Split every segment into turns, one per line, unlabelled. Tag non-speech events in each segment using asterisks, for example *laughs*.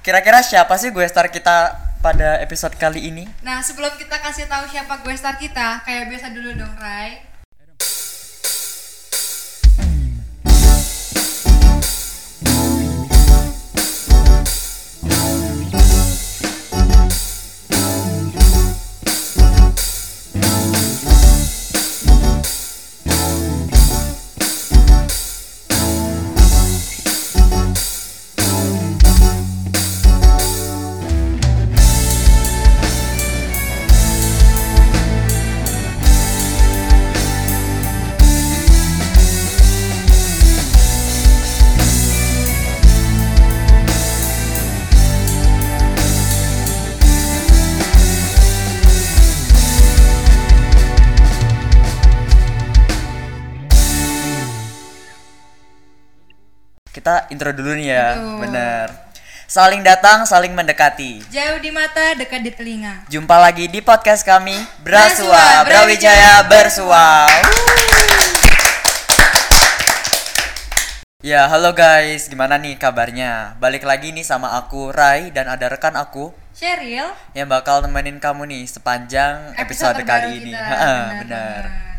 Kira-kira siapa sih gue star kita pada episode kali ini?
Nah, sebelum kita kasih tahu siapa gue star kita, kayak biasa dulu dong, Rai.
Kita intro dulu nih ya,
Aduh.
bener. Saling datang, saling mendekati.
Jauh di mata, dekat di telinga.
Jumpa lagi di podcast kami, Brasua,
Brasua,
Brawijaya
Brawijaya,
Bersua. Ya, halo guys, gimana nih kabarnya? Balik lagi nih sama aku, Rai, dan ada rekan aku
Cheryl,
yang bakal nemenin kamu nih sepanjang episode,
terbaru
kali ini.
kita.
Heeh,
Benar,
bener.
benar.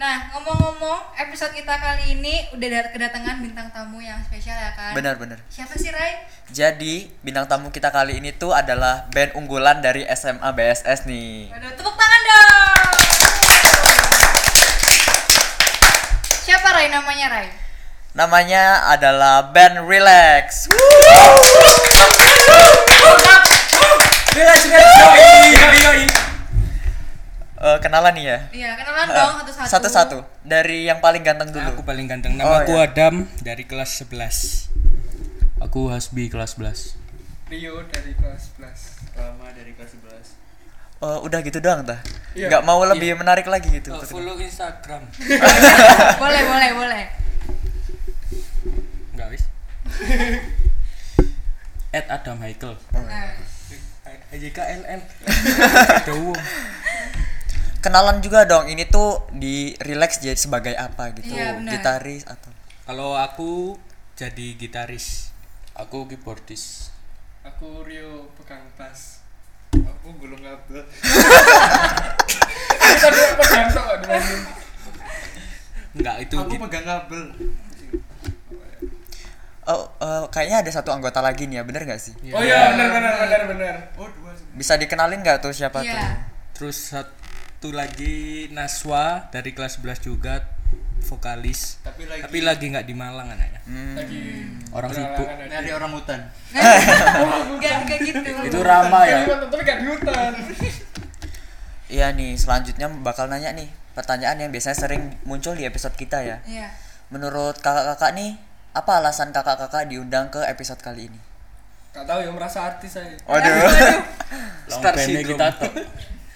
Nah, ngomong-ngomong, episode kita kali ini udah dat- kedatangan bintang tamu yang spesial ya kan?
Bener, bener.
Siapa sih, Rai?
Jadi bintang tamu kita kali ini tuh adalah band unggulan dari SMA BSS nih.
Waduh, tepuk tangan dong. Siapa Rai namanya, Rai?
Namanya adalah band Relax. Woo! Relax, relax, yoi, yoi, yoi. Eh, kenalan nih ya.
Iya, kenalan dong satu-satu.
Satu-satu. Dari yang paling ganteng
Nah, Aku
dulu.
paling ganteng.
Oh,
Nama aku
iya.
Adam dari kelas 11. Aku Hasbi kelas 11.
Rio dari kelas 11 Rama dari kelas 11
Eh, udah gitu doang tah.
Iya. Oh,
Nggak mau lebih menarik lagi gitu.
Oh, follow Instagram.
*laughs* boleh, boleh, boleh.
Enggak *laughs* wis. At Adam Haikel.
Nah,
AJKLN. Ada uang.
Kenalan juga dong. Ini tuh di Relax jadi sebagai apa gitu?
Iya, benar.
Gitaris atau
Kalau aku jadi gitaris. Aku keyboardis.
Aku Rio pegang bass Aku gulung kabel Aku tadi pegang tok kok dimasukin.
Enggak itu
Aku
git-
pegang kabel
Oh, eh, kayaknya ada satu anggota lagi nih ya, bener gak sih?
Oh iya benar benar benar benar Oh dua sih
Bisa dikenalin gak tuh siapa
iya.
tuh?
Terus satu lagi Naswa dari kelas 11 juga vokalis.
Tapi lagi- Hmm.
Tapi lagi nggak di Malang anaknya.
Lagi
Orang sibuk.
berhalangan ada.
orang hutan
Enggak, enggak gitu.
Itu Rama
iya.
ya.
kan. Tapi gak di hutan
Iya nih, selanjutnya bakal nanya nih pertanyaan yang biasanya sering muncul di episode kita ya.
Iya.
Menurut kakak-kakak nih, apa alasan kakak-kakak diundang ke episode kali ini?
Gak tau ya merasa artis saya
*laughs* Waduh,
Star Syndrome.
Eh,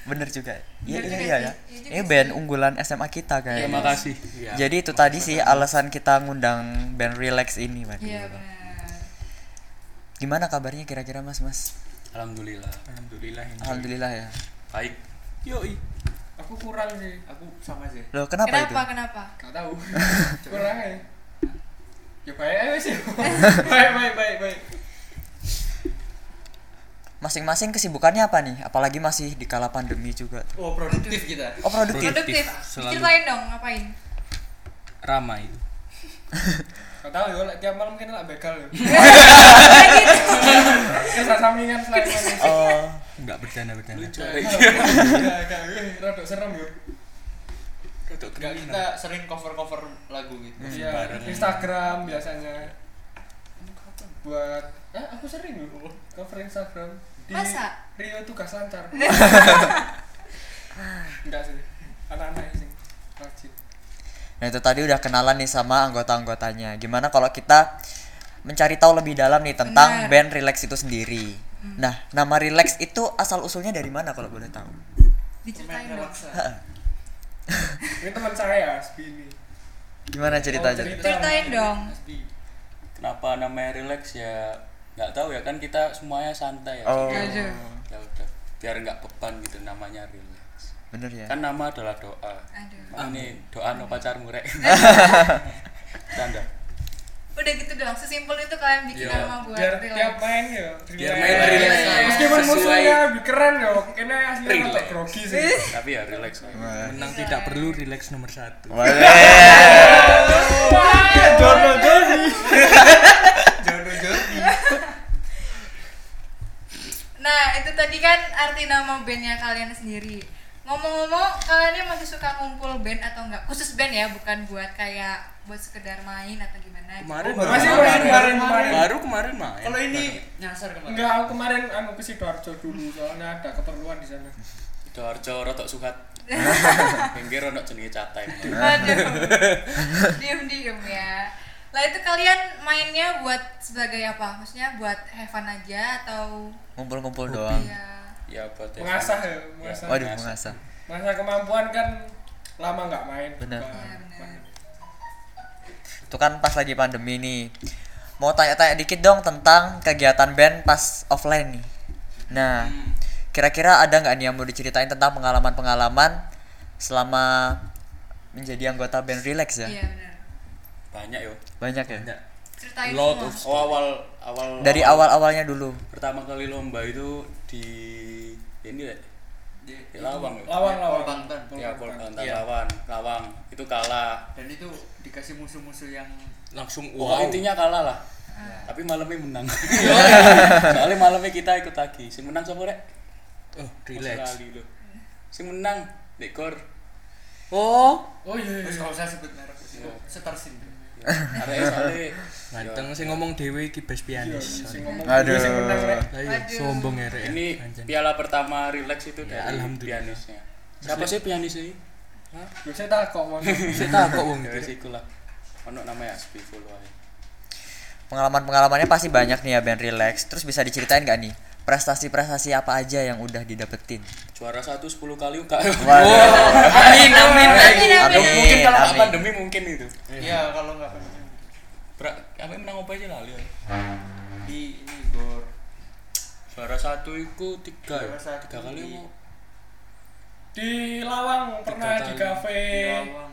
bener juga. Iya iya iya
Bener juga sih.
ya.
Iya juga
Ini band unggulan SMA kita kayaknya.
Terima kasih.
Iya.
Jadi itu tadi sih alasan kita ngundang band Relax ini, Mas.
Iya, benar.
Gimana kabarnya kira-kira Mas Mas?
Alhamdulillah. Alhamdulillah.
Alhamdulillah ya.
Baik. Yoi.
Aku kurang sih Aku sama sih
Loh,
Kenapa,
kenapa, itu?
kenapa?
Gak tau *laughs* Kurang ya Ya baik aja *laughs* sih Baik baik baik baik
Masing-masing kesibukannya apa nih? Apalagi masih di kala pandemi juga.
Oh produktif kita
Oh, produktif.
Produktif.
Selalu.
Ceritain dong, ngapain?
Rama itu.
Gak tau ya lek tiap malam kita lah begal ya
Kayak gitu.
Kisah sampingan selain manis.
Oh,
Enggak bercanda bercanda. Lucu.
eh.
Iya,
Gak, gak, eh, Iya, rada serem yuk.
Gak kita sering cover cover lagu gitu
Iya, Instagram biasanya. Buat, eh aku sering loh cover Instagram. Di
Masa?
Rio tugas
*laughs*
lancar. Enggak sih, anak-anak sih rajin.
nah itu tadi udah kenalan nih sama anggota-anggotanya. Gimana kalau kita mencari tahu lebih dalam nih tentang
Benar.
band Relax itu sendiri. Nah, nama Relax itu asal usulnya dari mana kalau boleh tahu?
Diceritain dong.
Ini teman saya, Asbi ini.
Gimana
Oh,
ceritanya?
cerita.
Ceritain dong.
Asbi.
kenapa namanya relax ya nggak tahu ya kan kita semuanya santai ya
Oh,
Aduh.
ya udah biar nggak beban gitu namanya relax
bener ya.
kan nama adalah doa Nah,
Aduh.
ini doa no pacarmu rek canda
udah gitu doang sesimpel itu kalian bikin
Iya.
nama buat
biar
relax.
tiap main ya
Biar
relax.
main
relax.
meskipun
Sesuai-
musuhnya lebih keren ya kayaknya asli
Relax.
agak grogi sih
Tapi ya relax lah.
Menang tidak perlu relax nomor satu.
Oh.
Jorno Jordi
Jodoh jodoh.
Nah itu tadi kan arti nama bandnya kalian sendiri. Ngomong-ngomong kalian ini masih suka ngumpul band atau enggak? Khusus band ya, bukan buat kayak buat sekedar main atau gimana? gitu.
Kemarin
baru masih
kemarin,
kemarin, kemarin.
Baru kemarin main.
Kalau ini nyasar kemarin.
enggak aku kemarin anu ke sidoarjo dulu soalnya ada keperluan di sana
Sidoarjo rotok sukat. Pinggir rotok jenenge catai.
Waduh,
*laughs*
diem-diem ya. Lah itu kalian mainnya buat sebagai apa? Maksudnya buat have fun aja atau
Ngumpul-ngumpul doang.
ya?
Ya buat ya.
mengasah ya mengasah
Waduh, mengasah.
mengasah kemampuan kan lama nggak main
Benar.
Bukan.
Ya, benar.
Itu kan pas lagi pandemi nih. Mau tanya-tanya dikit dong tentang kegiatan band pas offline nih. Nah, kira-kira ada nggak nih yang mau diceritain tentang pengalaman-pengalaman selama menjadi anggota band Relax ya?
Iya benar.
Banyak yo.
Banyak ya?
Banyak.
Ceritain
Lot
semua.
of
Oh awal awal
Dari awal-awalnya dulu.
pertama kali lomba itu di ini deh
Di-
di Lawang ya.
lawan lawan
Polbantan.
ya Polkanta Lawang Lawang itu kalah
Dan itu dikasih musuh-musuh yang
Langsung
Wah,
wow.
intinya kalah lah tapi malamnya menang Iya. soalnya malamnya kita ikut lagi si menang siapa rek
Oh, relax.
Australia loh. si menang dekor
Oh,
oh iya iya.
terus kalau saya sebut merek setar sini.
Iya. Arek soalnya
ganteng sih ngomong dewe iki bass pianis.
sing iya, ngomong
Aduh.
dulu sing menang Rek.
Ayo,
Aduh.
sombong ya, Rek.
ini
Anjay.
piala pertama relax itu
Ya,
dari
alhamdulillah.
pianisnya siapa sih pianisnya ini?
Yo, saya tak kok mau
Saya tak *laughs* kok wong
ya
itu.
sih ikulah ono namanya Asbiful wae
Pengalaman-pengalamannya pasti banyak nih ya band Relax. Terus bisa diceritain nggak nih prestasi-prestasi apa aja yang udah didapetin?
juara satu 10 kali enggak *laughs*
Amin, amin.
Amin, amin.
Amin.
mungkin kalau nggak
amin.
pandemi mungkin itu
Iya, kalau nggak pandemi.
Pra, apa yang menang apa aja lali ya?
di ini gor
Juara satu itu tiga ya?
Juara satu
Tiga kali
di-
mau
di lawang pernah
Tiga
di
kali.
kafe
Lawang.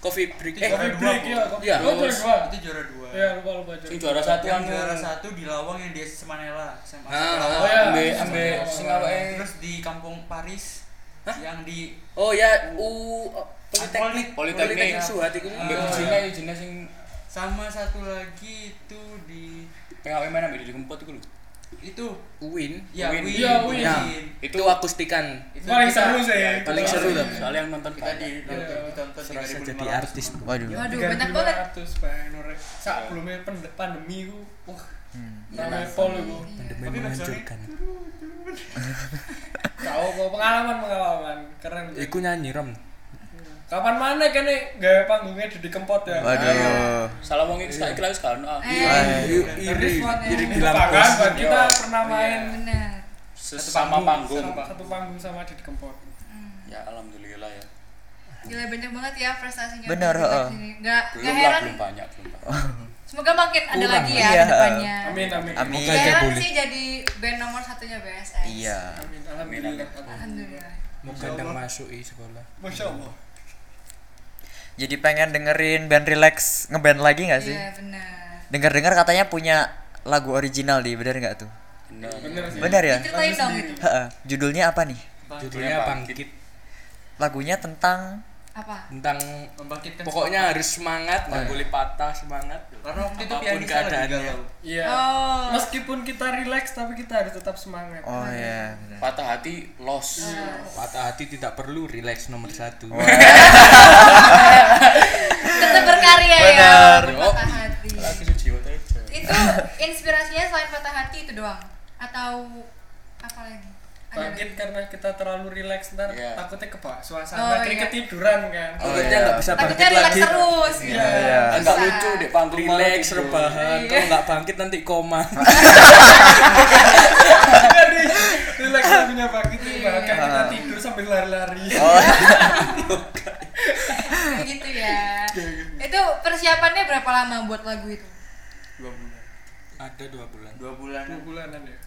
Coffee break
eh
eh
Tiga.
kopi
dua,
break
kok.
ya kopi
Iya,
oh, juara
terus.
dua
itu juara dua.
ya lupa lupa juara
Sing juara satu
yang
anu
juara satu di Lawang yang di SMA Nela, SMA
Ah,
Lawang.
oh iya.
Ambe,
Sama
ambe,
orang
sing
lain.
awake
Terus di Kampung Paris yang di
Oh ya, U Politeknik,
Politeknik.
Politeknik
Politeknik.
Suhat iku.
Ambe
Ah.
Ujina, Ujina sing
sama satu lagi itu di
PHW mana ambe di Kempot itu lho
itu
Uin.
ya
Win.
Win.
Iya, Win.
Win.
Nah, itu akustikan.
Itu
paling
kita-
seru sih
Paling seru
Itu
tapi.
Soalnya yang nonton
kita di
banyak
nonton
Iya.
ditonton
Serasa
3.500.
jadi artis.
Waduh.
Waduh, banyak banget.
3500 bayangin Rek. Sak belumnya pend- pandemi ku wah namanya
Iya,
pol ku
Pandemi
Tapi backsoundnya-
menghancurkan.
tahu kok pengalaman pengalaman keren Rek.
Iku nyanyi rem.
kapan mana kene gaya panggungnya di kempot ya
Waduh.
Salah wong itu tak ikhlas kan ah.
Eh,
Ayo, iri, iri di
Bahkan
lampos.
buat kan, kita pernah
Iya.
main
benar.
Sesama panggung
sama- satu panggung sama di kempot
Ya alhamdulillah ya
Gila banyak banget ya prestasinya.
Benar,
Untuk
heeh.
sini. Nggak, nggak
Belum lah,
heran.
belum banyak Belum banyak
Semoga makin ada
Kurang,
lagi ya
iya.
ke depannya.
amin amin
Amin.
Nggak
Aja
heran
boleh.
sih jadi band nomor satunya BSS.
Iya.
amin alhamdulillah
Alhamdulillah.
Mau kadang masuk i sekolah.
masya allah
Jadi pengen dengerin band Relax ngeband lagi nggak sih?
Iya benar.
Dengar-dengar katanya punya lagu original di, bener nggak tuh?
Bener
bener
Iya.
sih
Bener ya?
Ceritain dong itu.
Heeh. Judulnya apa nih?
Judulnya bangkit
Lagunya tentang
Apa?
tentang
membangkitkan
pokoknya harus semangat nggak boleh patah semangat
karena waktu itu
Apapun
pianisnya lagi
keadaannya.
galau
iya
Oh.
meskipun kita relax tapi kita harus tetap semangat
Oh ya.
Iya.
bener.
Patah hati loss
Nah.
patah hati tidak perlu relax nomor satu
Tetap berkarya ya. walaupun Patah hati.
Lagi suci wae aja
Itu inspirasinya selain patah hati itu doang atau apa lagi? Ada lagi?
Bangkit karena kita terlalu relax ntar
Iya.
takutnya
Oh,
kebawa suasana
iya.
akhirnya ketiduran kan.
takutnya nggak bisa
Takutnya
bangkit
kan relax
lagi
terus gitu.
Iya.
Enggak
Susah.
lucu deh panggung malah
relax
tidur.
rebahan kalau nggak bangkit nanti *laughs* koma
Jadi Iya, relax lagunya bangkit nih bahkan kita tidur sambil lari-lari.
*laughs*
Iya. Oh,
gitu ya itu persiapannya berapa lama buat lagu itu
dua bulan
ada dua bulan
dua bulan
Dua bulanan ya.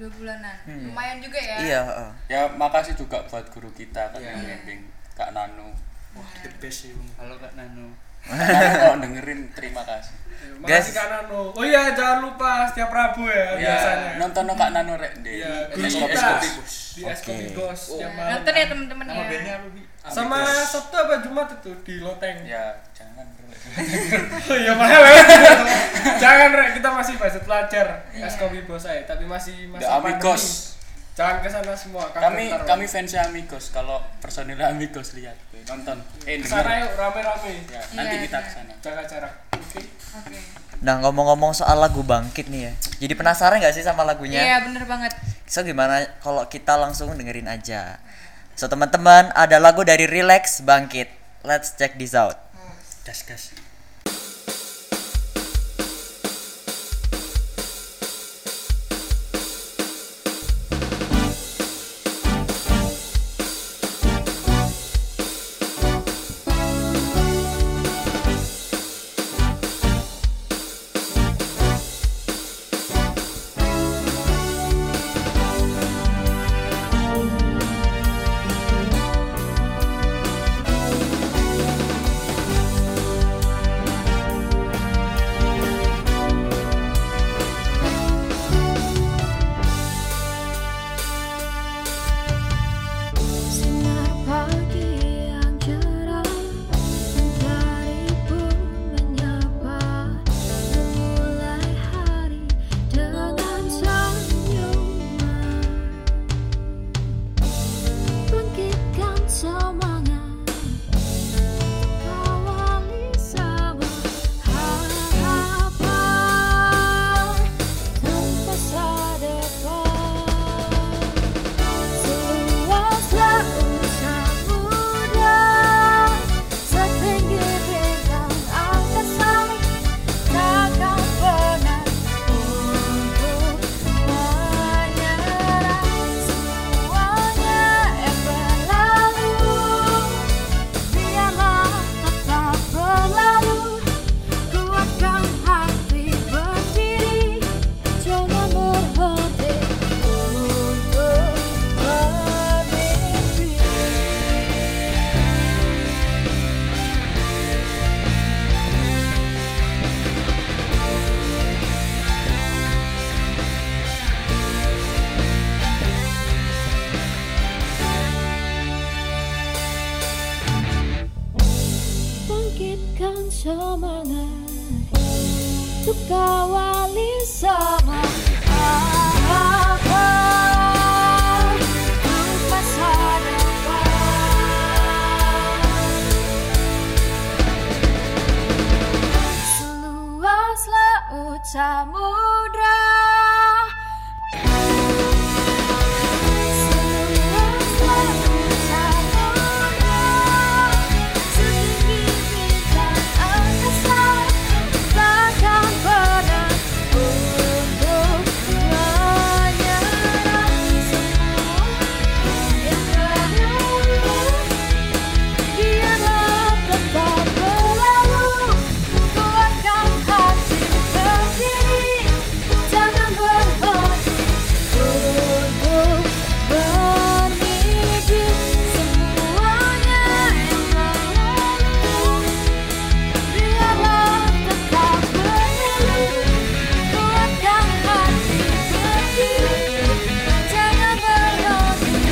dua bulanan lumayan juga ya
*laughs* Iya. heeh.
Ya makasih juga buat guru kita kan yang bimbing Kak Nano.
wah the best sih Bang.
kalau kak Nano
Kamu kalau dengerin terima kasih.
Guys.
Makasih Kak Nano. Oh iya, jangan lupa setiap Rabu ya, biasanya.
Nonton no Kak Nano rek di
Iya,
di
guru
Eskopi
kita.
Bus.
Di
Oke.
Eskopi Bos setiap
Nah,
malam.
nonton ya temen-temen
Nama bandnya
ya
apa, Bi?
Sama
Amigos.
Sabtu apa Jumat itu di Loteng.
Ya, jangan Rek.
Oh iya mahal ya. Jangan Rek, kita masih budget pelajar. Eskopi Bos aja, tapi masih
The
masih
Amigos.
pandemi. Jangan ke sana semua. kaget
Kami
ntar,
kami
Rek.
fans Amigos. Kalau personil Amigos lihat tuh, nonton. Eh, denger.
kesana yuk rame-rame.
Ya, nanti
Iya,
kita
iya.
ke sana.
Jaga jarak. Oke.
oke
Nah ngomong-ngomong soal lagu bangkit nih ya. Jadi penasaran nggak sih sama lagunya?
iya bener banget
So gimana kalau kita langsung dengerin aja? So teman-teman ada lagu dari Relax Bangkit. Let's check this out.
Gas gas.
Sinar pagi yang cerah mentari pun menyapa memulai hari dengan senyuman bangkitkan semangat awali sebuah harapan tanpa sadar. Seluasnya usah muda Setinggi bintang angkasa Takkan pernah untuk menyerah Semuanya yang berlalu Biarlah tetap berlalu Kuatkan hati berdiri Jangan berhenti untuk bermimpi bangkitkan semangat untuk kawali sama harapan untuk masa depan. Seluas laut samudra Seluas laut samudra Setinggi bintang angkasa Takkan pernah untuk menyerah Semua yang terlalu Biarlah tetap berlalu Kuatkan hati berdiri Jangan berhenti Untuk bermimpi Semuanya yang berlalu Biarlah tetap berlalu Kuatkan hati berdiri Jangan berhenti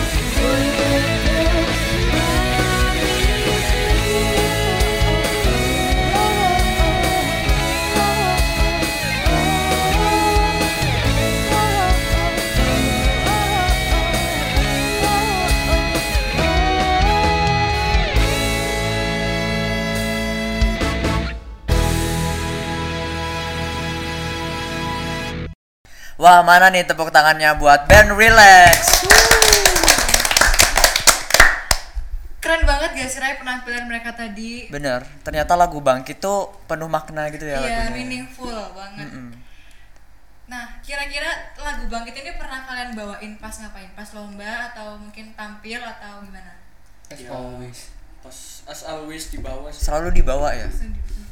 Wah mana nih tepuk tangannya buat band Relax.
keren banget guys Ray penampilan mereka tadi
Bener. Ternyata lagu bangkit tuh penuh makna gitu ya
iya
lagunya.
meaningful banget
Mm-mm.
nah kira-kira lagu bangkit ini pernah kalian bawain pas ngapain pas lomba atau mungkin tampil atau gimana
As always. Pas as always di bawah sih.
Selalu dibawa ya.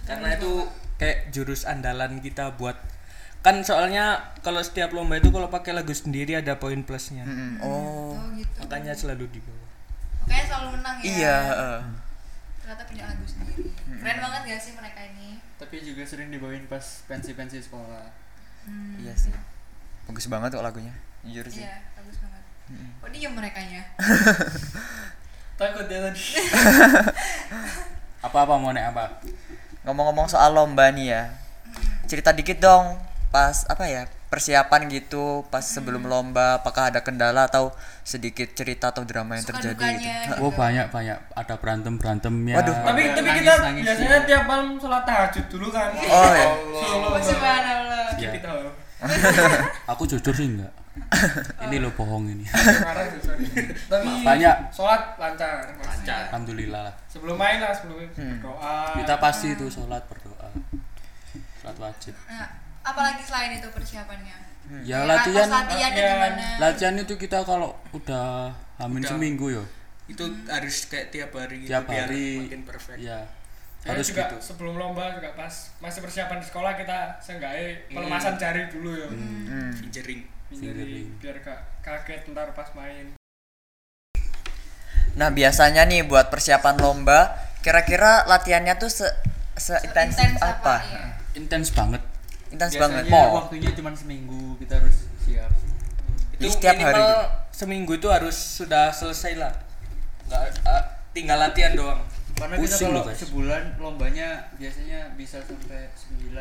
karena itu kayak jurus andalan kita buat kan soalnya kalau setiap lomba itu kalau pakai lagu sendiri ada poin plusnya
Hmm.
Mm-mm. Oh
oh gitu
makanya selalu di bawah
makanya selalu menang ya
iya. eh.
ternyata punya lagu sendiri keren banget gak sih mereka ini
Tapi juga sering dibawain pas pensi-pensi sekolah.
hmm.
Iya sih. Bagus banget kok lagunya. Jujur sih.
iya bagus banget oh diem mereka
*laughs*
nya
Takut dia tadi.
apa apa mau naik apa
Ngomong-ngomong soal lomba nih ya. Cerita dikit dong pas apa ya? Persiapan gitu pas sebelum
Hmm.
lomba apakah ada kendala atau sedikit cerita atau drama yang
suka
terjadi gitu.
dukanya
oh banyak banyak ada berantem berantemnya
Waduh.
tapi tapi
nangis,
kita
nangis,
biasanya
ya.
tiap malam sholat tahajud dulu kan Iya. Gitu.
Oh
*laughs*
ya.
Oh, subhanallah
Ya,
kita
aku jujur sih enggak
*laughs*
ini lo bohong ini
marah tuh, sorry. tapi
Banyak.
sholat lancar pasti.
alhamdulillah lah
sebelum main lah sebelum doa
kita pasti itu sholat berdoa sholat wajib
nah apalagi selain itu persiapannya
ya
Pas
latihan
latihannya
eh,
latihan.
gimana
latihan itu kita kalau udah hamin seminggu ya
itu harus kayak tiap hari Iya. gitu
Tiap
biar
hari.
makin perfect
ya
Saya
harus
juga
gitu
sebelum lomba juga pas masih persiapan di sekolah kita seenggaknya pelemasan jari dulu ya
fingering
jadi
Fingering.
biar gak kaget ntar pas main
Nah, biasanya nih buat persiapan lomba, kira-kira latihannya tuh se seintensif
Intens
apa?
iya?
intens banget
Intens banget. Oh.
Biasanya waktunya cuma seminggu kita harus siap.
Jadi setiap hari
minimal
gitu.
seminggu itu harus sudah selesai lah nggak eh, tinggal latihan doang
Karena
Pusing
kita
loh,
kalau
guys.
sebulan lombanya biasanya bisa sampai 9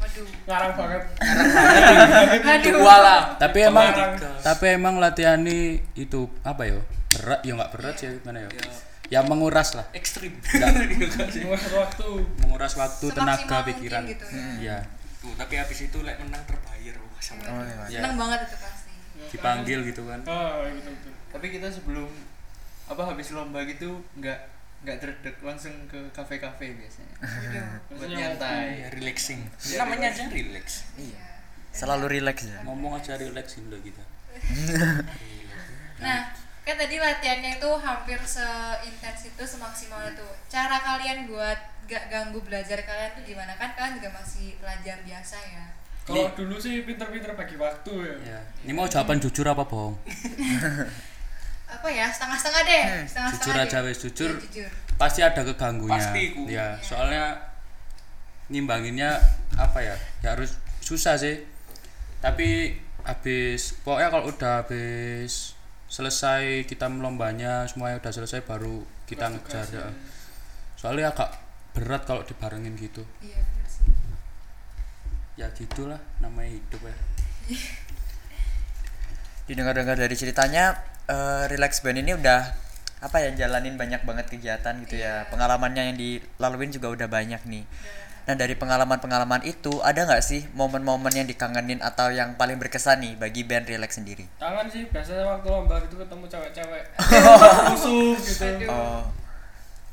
Waduh.
ngarang banget
Iya.
Aduh.
tapi emang
Pelarang.
tapi emang latihan ini itu apa ya berat ya nggak berat sih
Iya.
gimana ya
Iya.
ya menguras lah
*laughs*
Eh,
ekstrim
Menguras waktu
menguras waktu tenaga
Semaksimal
pikiran
mungkin gitu ya.
ya
*laughs* Tuh, tapi habis itu like menang terbayar wah sama
Oh, iya.
Seneng banget itu pasti.
dipanggil gitu kan
oh gitu gitu
tapi kita sebelum apa habis lomba gitu nggak nggak terdek langsung ke kafe kafe biasanya
Waduh.
buat nyantai
ya, relaxing namanya aja relax
Iya.
Selalu relax ya.
ngomong aja relax dulu
*laughs*
kita
Nah, kan tadi latihannya itu hampir seintens itu, semaksimal itu. Cara kalian buat gak ganggu belajar kalian tuh gimana? Kan kalian juga masih belajar biasa ya.
kalau dulu sih pinter-pinter bagi waktu ya
ya ini mau jawaban jujur apa bohong
Apa ya? Setengah-setengah deh.
jujur
Hmm.
Setengah-setengah
aja
deh.
wes jujur
Iya, jujur.
pasti ada keganggunya
Pasti, Ku.
ya soalnya ngimbanginnya apa ya ya harus susah sih tapi habis pokoknya kalau udah habis selesai kita melombanya semuanya udah selesai baru kita ngejar ya. soalnya agak berat kalau dibarengin gitu
Iya, bener sih.
ya gitulah namanya hidup ya
Didengar-dengar dari ceritanya, eh, relax band ini udah apa ya jalanin banyak banget kegiatan gitu ya.
Iya.
Pengalamannya yang dilaluin juga udah banyak nih. Nah dari pengalaman-pengalaman itu ada nggak sih momen-momen yang dikangenin atau yang paling berkesan nih bagi band relax sendiri?
tangan sih biasanya waktu lomba gitu ketemu
*laughs*
cewek-cewek musuh gitu
Oh,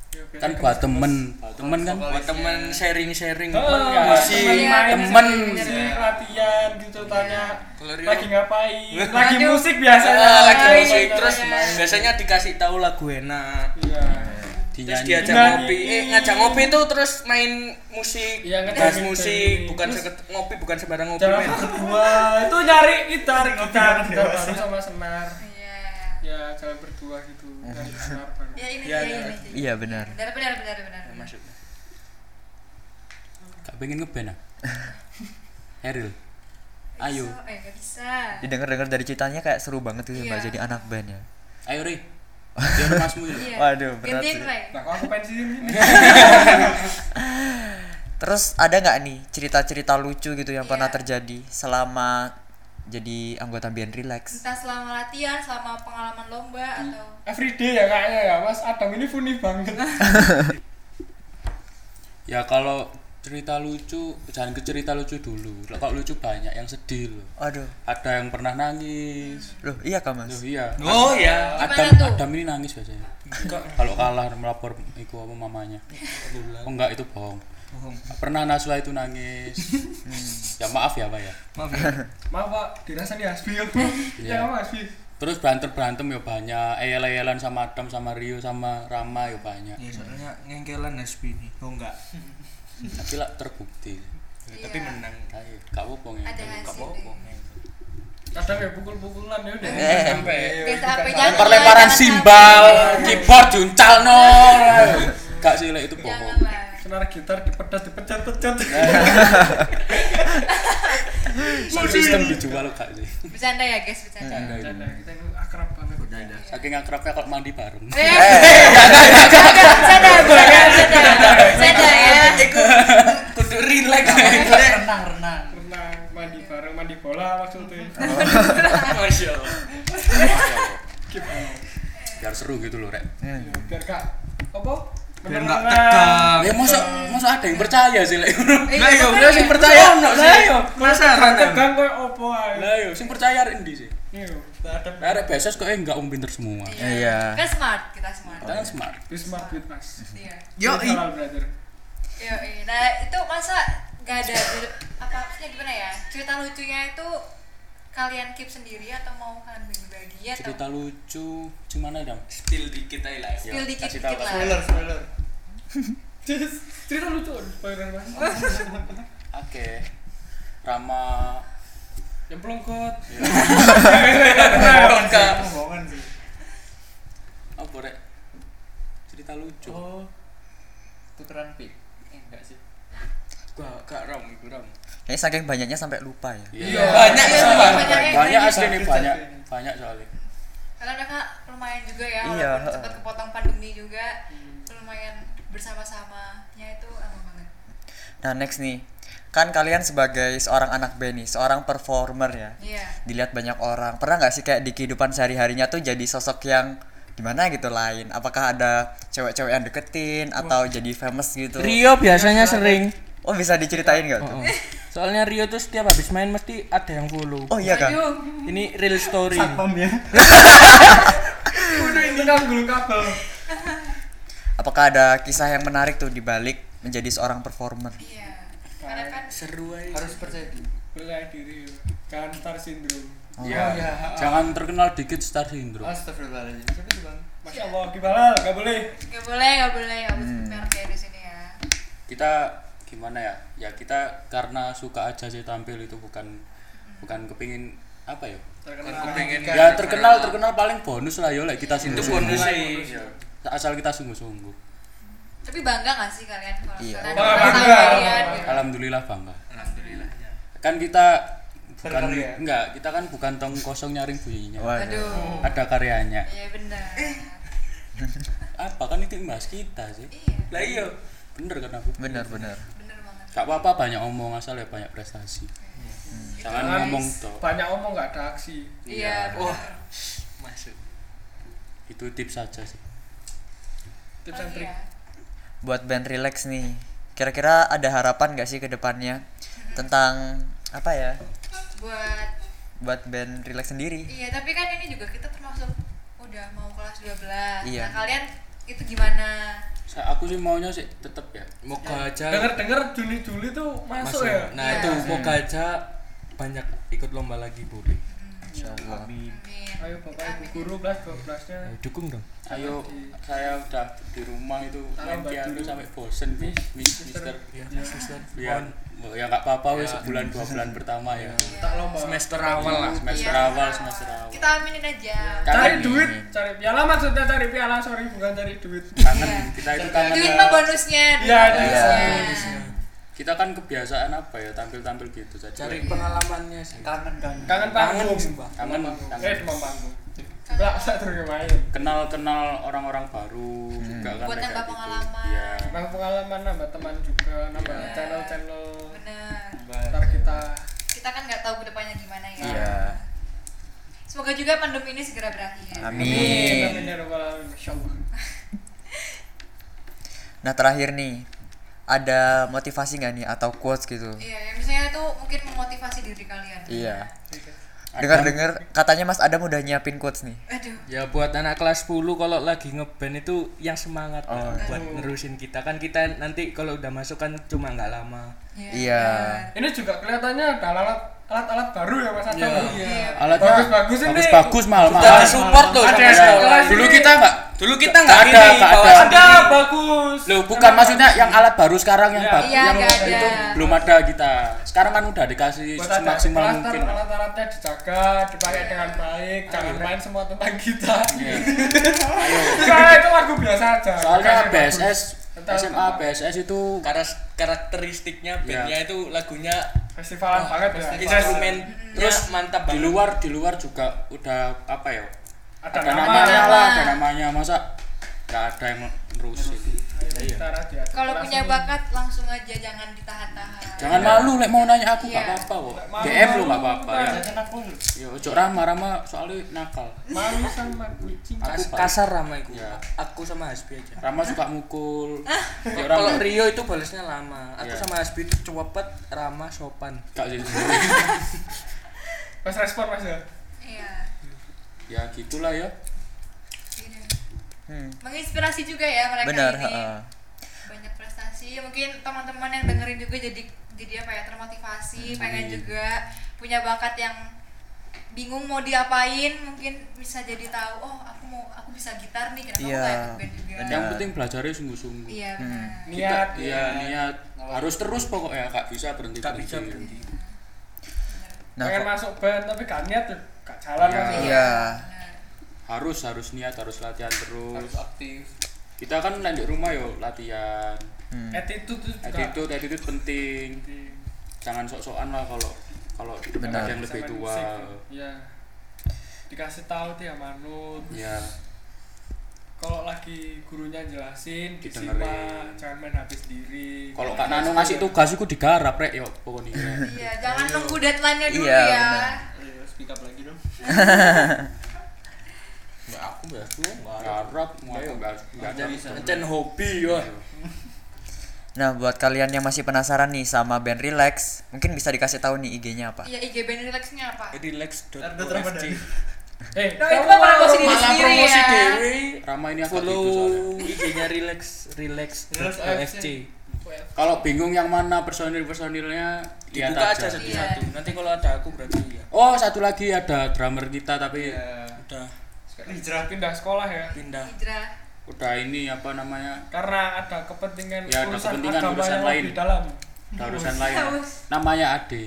Ya,
kan
biasanya ketemu-
buat temen temen kan
buat temen sharing sharing
Oh,
temen kan? Iya.
masih
Iya,
main
temen.
musik, latihan gitu tanya
Kalau Rio-
lagi ngapain lagi
Aduh.
musik biasanya gitu.
Ah, Iya. lagi musik
Iya.
terus biasanya dikasih tahu lagu enak
iya
terus
dinyanyi
diajak
Nyanyi.
ngopi eh ngajak ngopi tuh terus main musik
Iya, ngejahit
bahas
gitu.
musik bukan
Terus-
seket- ngopi bukan sembarang ngopi
jalan
men. *laughs*
berdua itu nyari gitar gitar
Iya,
gitar baru sama senar
Iya.
ya jalan berdua gitu nyari senar baru
Ya ini,
Iya,
ya,
iya.
ini.
iya benar.
Benar, benar, benar, benar.
masuk
gak pengen
*laughs*
ngeband ah Eril ayo
So, eh, gak bisa.
Didengar-dengar dari ceritanya kayak seru banget gitu mbak
Iya.
jadi anak band ya.
ayo Ri ya. Jangan masmu ini.
Iya.
Waduh, berat
Gantiin,
sih.
Ray.
nah kok aku pensiun
*laughs*
ini
Terus ada nggak nih cerita-cerita lucu gitu yang pernah
Iya.
terjadi selama jadi anggota band relax?
Entah selama latihan, selama pengalaman lomba atau
everyday ya kayaknya ya mas Adam ini funny
*laughs*
banget
Ya kalau cerita lucu, jangan ke cerita lucu dulu. Kalau lucu banyak yang sedih loh.
Aduh,
Ada yang pernah nangis.
loh iya kak mas?
Loh iya.
oh ya
Adam,
tuh?
Adam ini nangis biasanya. Kalau kalah melapor iku apa mamanya. Oh enggak itu bohong. Pernah Naswa itu nangis.
Hmm.
Ya maaf ya Pak ya.
maaf pak dirasa nih Hasbi ya
Iya.
kamu Hasbi
Terus berantem-berantem ya banyak. Eyel-eyelan sama Adam sama Rio sama Rama ya banyak.
ya soalnya ngengkelan Hasbi ini oh enggak
Tapi lah terbukti.
Ya,
tapi menang
Ayo, gak apa-apa
iya, ada
ngengkel.
hasil.
kadang ya pukul-pukulan ya udah
Eh.
sampai
Biasa Eh, apa
Lempar-lemparan simbal, keyboard diuncal no. Kak Sile
Iya,
itu bohong.
janganlah
senar gitar dipedas dipecat-pecat
Eh.
Sound system dijual Kak sih.
bercanda ya guys bercanda
Bercanda, Nah, kita ini akrab banget
Saking akrabnya kalau mandi
*laughs*
bareng.
Eh, bercanda, bercanda, bercanda, bercanda, bercanda ya.
Kudu relax.
renang renang
renang mandi bareng mandi bola maksudnya
Ah.
Masya Allah. Biar seru gitu loh, Rek.
Ya, biar kak apa
biar nggak tegang
Ya masa masa ada yang percaya sih Lek.
Ah, lah yo
makanya.
lah sing percaya
Ono sih.
lah yo penasaran
tegang kayak opo ae
Lah yo sing percaya rek ndi sih?
Iya, tak ada
Arek biasa kok enggak om pinter semua.
Iya.
Kan smart, kita smart.
Kita kan smart.
Bisma with us
Iya.
yo
Kita halal brother
Yo, nah itu masa gak ada apa maksudnya gimana ya? Cerita lucunya itu kalian keep sendiri atau mau kalian bagi-bagi atau
Cerita lucu gimana dong? Iya,
spill dikit aja lah ya.
spill dikit-dikit
kasih tahu,
lah.
spoiler spoiler
cerita lucu spoiler mas
Ah.
Oke. Rama
yang pelongkot
Bohongan Kak.
bohongan sih
Apa rek? Oh, Cerita lucu.
oh tukeran pik eh enggak sih
Gak gak ram iku ram.
Kayaknya saking banyaknya sampai lupa ya.
Iya.
banyak
Iya,
sumpah.
banyak yang
Banyak
nanya.
asli nih banyak.
Sakit.
Banyak soalnya.
Karena mereka lumayan juga ya,
Iya,
walaupun
heeh.
cepat kepotong pandemi juga, lumayan bersama-samanya itu lama banget.
Nah, next nih. Kan kalian sebagai seorang anak band nih, seorang performer ya.
Iya.
Dilihat banyak orang. Pernah nggak sih kayak di kehidupan sehari-harinya tuh jadi sosok yang gimana gitu lain? Apakah ada cewek-cewek yang deketin atau jadi famous gitu?
Rio biasanya sering. Oh.
Oh, bisa diceritain nggak tuh?
Soalnya Rio tuh setiap habis main mesti ada yang follow.
Oh iya kan?
Aduh,
Ini real story.
ya
udah ini kan gulung kabel
Apakah ada kisah yang menarik tuh di balik menjadi seorang performer?
iya. Karena kan
Seru aja.
harus percaya diri
percaya diri jangan star syndrome
iya.
Jangan terkenal dikit star syndrome.
astagfirullahaladzim siapa sih bang
masya allah gimana nggak boleh
Gak boleh, gak boleh, gak boleh
Hmm.
merek ya di sini ya.
kita gimana ya ya kita karena suka aja sih tampil itu bukan bukan kepingin apa ya
Kan aku pengen
ya terkenal terkenal paling bonus lah yo like kita sungguh sungguh
sih
asal kita sungguh sungguh
Tapi bangga gak sih kalian kalau
Iya.
kalian
Wah,
ada
bangga.
kalian? gitu?
alhamdulillah bangga
alhamdulillah
kan kita bukan
Berkarya.
enggak kita kan bukan tong kosong nyaring bunyinya
Waduh.
Aduh,
ada karyanya
iya benar.
Eh.
apa kan itu yang bahas kita sih
Iya,
lah iya bener kan aku
Bener-bener.
benar banget.
gak apa apa banyak omong asal ya banyak prestasi
Kan
jangan
Jangan
ngomong toh
banyak omong nggak ada aksi
Iya.
wah
benar.
masuk
itu tips saja sih
tips and
Pasti
trick
ya.
buat band relax nih kira-kira ada harapan gak sih ke depannya tentang apa ya
Buat
buat band relax sendiri
iya, tapi kan ini juga kita termasuk udah mau kelas 12.
Iya.
Nah, kalian itu gimana?
Sa- aku sih maunya sih tetep ya
Moga aja.
denger dengar Juni Juli tuh masuk,
masuk.
ya
Nah,
Iya.
itu moga aja banyak ikut lomba lagi boleh.
insyaallah
Amin.
Hmm.
Iya.
ayo bapak ibu guru belas dua belasnya
Ayo Eh, dukung dong.
Ayo, saya udah di rumah itu main
Tambah
piano
dulu.
sampai bosen mis, mis, mister.
Ya,
Ya, ya nggak apa-apa wes sebulan dua bulan pertama ya.
tak lomba
Semester awal lah, semester
Iya.
awal, semester awal. Iya.
Kita aminin aja.
cari
Kangen,
duit cari piala maksudnya cari piala sorry bukan cari duit
kangen
Iya.
kita itu
Duit mah
kangen. ya.
bonusnya, duit
Iya,
mah
duit
mah
bonusnya.
Kita kan kebiasaan apa ya tampil-tampil gitu jadi
Cari
kayak
pengalamannya sih.
kangen kangen
kangen panggung
sumpah.
kangen,
eh
kangen.
cuma panggung belak saya terus main
kenal-kenal orang-orang baru juga kan
Buat
kayak
nambah
gitu.
pengalaman.
Iya.
nambah pengalaman nambah teman juga nambah
Iya.
channel channel
Benar.
ntar kita
Kita kan nggak tahu kedepannya gimana ya.
iya
Semoga juga pandemi ini segera berakhir.
amin
amin
ya rabbal alamin insyaallah
nah terakhir nih ada motivasi nggak nih atau quotes gitu
Iya, ya, misalnya tuh mungkin memotivasi diri kalian.
iya dengar dengar katanya Mas Adam udah nyiapin quotes nih
Aduh,
Ya buat anak kelas 10 kalau lagi ngeband itu yang semangat lah, buat nerusin kita kan kita nanti kalau udah masuk kan cuma nggak lama.
iya.
Iya.
ini juga kelihatannya ada alat alat alat baru ya mas Adam
Iya.
Alatnya
bagus-bagus ini
bagus-bagus mahal
Kita
mahal.
support loh
Ada
sama
sekolah
sekolah.
Dulu kita nggak
Dulu kita nggak
Nggak ada,
ini
nggak
bawa
ada.
ada
sendiri.
bagus
Loh, bukan maksudnya yang alat baru sekarang yang
Iya.
bagus
Iya,
yang
nggak ada.
itu belum ada kita. Sekarang kan udah dikasih
Buat ada
semaksimal
klaster,
mungkin.
alat-alatnya dijaga dipakai dengan baik jangan main semua tentang kita *laughs*
Iya.
Enggak, itu lagu biasa aja
Soalnya
Bukan yang
BSS
tahu
SMA PSS itu
Karas- karakteristiknya bandnya itu lagunya
Oh,
festivalan
wah,
banget ya.
instrumen terus
Terus
mantap
di
banget
luar di luar juga udah apa ya
Ada
ada,
nama
namanya
nama.
lah ada namanya masa nggak ada yang nerusin Iya.
Tara di atas
Kalau
kelas
punya
ini.
bakat langsung aja jangan ditahan-tahan.
jangan malu lek mau nanya aku nggak
Iya.
apa-apa kok
Nggak Iya. malu,
DM lu
malu,
nggak apa-apa ya
Jangan aku
yo ojo ramah ramah soalnya nakal
malu sama kucing.
aku
Kas-
kasar
kasar ramai aku
Ya.
aku sama Hasbi aja
ramah suka mukul
Ah.
yo
kalau
ramah
Rio itu balasnya lama aku
Iya.
sama Hasbi itu cepet ramah sopan
gak sih *laughs*
Mas respon mas ya.
Iya.
ya gitulah ya
Gini.
Hmm,
Iya. Menginspirasi juga ya mereka
benar.
ini.
heeh.
Banyak prestasi. Mungkin teman-teman yang dengerin juga jadi jadi apa ya termotivasi, pengen juga punya bakat yang bingung mau diapain mungkin bisa jadi tahu oh aku mau aku bisa gitar nih kenapa
Iya,
aku gak ikut band juga
benar.
yang penting belajarnya sungguh-sungguh
iya
Hmm.
benar
Niat. ya.
Kita- iya niat harus terus pokoknya nggak bisa berhenti
Nggak bisa berhenti.
Nah,
Pengen
kok-
masuk band tapi gak niat tuh. Gak jalan
Iya.
mas.
iya.
benar.
harus harus niat harus latihan terus
harus aktif
kita kan nanti rumah yo latihan
Hmm.
Attitude tuh juga.
attitude attitude penting jangan sok-sokan lah kalau kalau
Benar.
ada yang lebih
Sama
tua
musik. Iya. Dikasih tahu tuh ya manut.
ya
Kalau lagi gurunya jelasin,
Didengerin.
disimak, jangan main HP sendiri.
kalau kak Nano ngasih tugas iku digarap rek yo pokoknya rek.
iya jangan nunggu deadline-nya dulu
Iya,
ya
benar.
Ayo, speak up lagi dong
Mbak *laughs* aku mbak aku garap mbak aku mbak aku
Nggak
garap.
bisa.
Ngecen hobi wah
Nah, buat kalian yang masih penasaran nih sama band Relax, mungkin bisa dikasih tahu nih IG-nya apa.
iya IG band relax-nya apa
relax.ofc
Eh,
No, itu mah promosi diri
malah
sendiri
promosi
ya.
dewe
Rama Iya. ini agak
follow
gitu soalnya
IG-nya relax relax
Relax
OFC
kalau bingung yang mana personil personilnya lihat
dibuka aja
aja
satu-satu nanti kalau ada aku berarti ya
oh satu lagi ada drummer kita tapi
ya
udah
sekarang hijrah pindah sekolah ya.
pindah
hijrah
udah ini apa namanya
Karena ada kepentingan
Ya, ada kepentingan,
agama
urusan
yang
lain.
lebih dalam.
ada urusan lain
Haus.
namanya Ade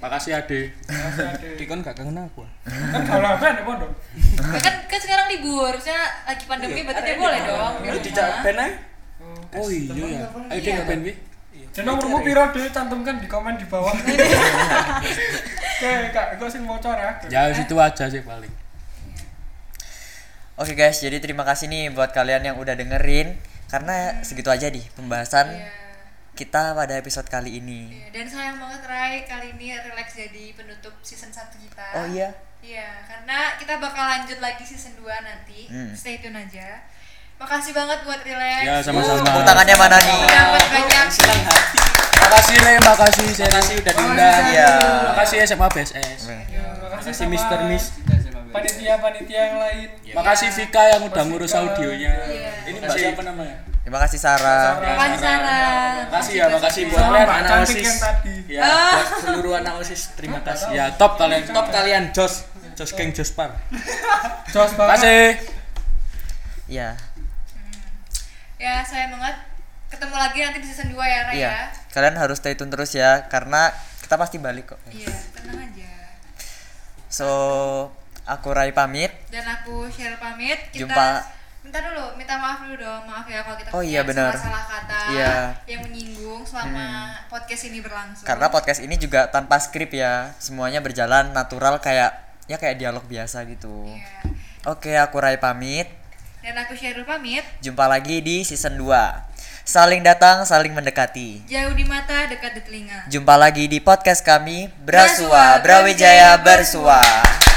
makasih Ade
Masih ada.
Dikon gak kangen aku
Kan kalau apa nih pondok?
Ya kan kan sekarang libur maksudnya lagi pandemi berarti dia boleh dong ya. di
Lu
rumah.
dijak band aja
oh iya ya ayo dia ngapain bi
Jeneng umurmu piro dhewe cantumkan di komen di bawah. Oke, Kak, gua sing mocor ya.
ya situ aja sih paling
Oke guys, jadi terima kasih nih buat kalian yang udah dengerin karena segitu aja nih pembahasan
Iya.
kita pada episode kali ini.
Iya, dan sayang banget Rai kali ini relax jadi penutup season 1 kita
Oh iya.
iya karena kita bakal lanjut lagi season 2 nanti
Hmm.
stay tune aja makasih banget buat relax
ya sama-sama
Tepuk tangannya mana nih?
dapat banyak
senang hati
makasih le makasih saya
makasih udah diundang
Iya.
makasih SMA BSS
Terima kasih
Makasih
sama
Mister Miss
kita sama Ben.
Panitia-panitia yang lain.
makasih Vika yang udah ngurus audionya
Iya.
ini mbak
Makasih.
siapa namanya
Terima kasih Sarah.
Makasih, Sarah.
makasih ya makasih buat
Sama
kalian
Mbak
anak
cantik yang
osis
tadi.
ya
buat seluruh anak OSIS terima kasih
ya top kalian
top
top
kalian Jos Jos Gang Jospar
Jos banget.
kasih
Iya.
ya sayang banget ketemu lagi nanti di season 2 ya Rai
Iya.
ya
Kalian harus stay tune terus ya karena kita pasti balik kok.
iya tenang aja
So, aku Rai pamit.
dan aku share pamit kita
Jumpa.
minta dulu minta maaf dulu dong maaf ya kalau kita
Oh iya,
punya
benar.
salah kata
Iya. Hmm.
yang menyinggung selama podcast ini berlangsung
Karena podcast ini juga tanpa skrip ya. Semuanya berjalan natural kayak ya kayak dialog biasa gitu.
Iya.
Oke, aku Rai pamit.
dan aku Sheryl pamit
Jumpa lagi di season 2. Saling datang, saling mendekati.
jauh di mata dekat di telinga
Jumpa lagi di podcast kami Brasua
Brasua,
Brawijaya
Brawijaya,
Bersua.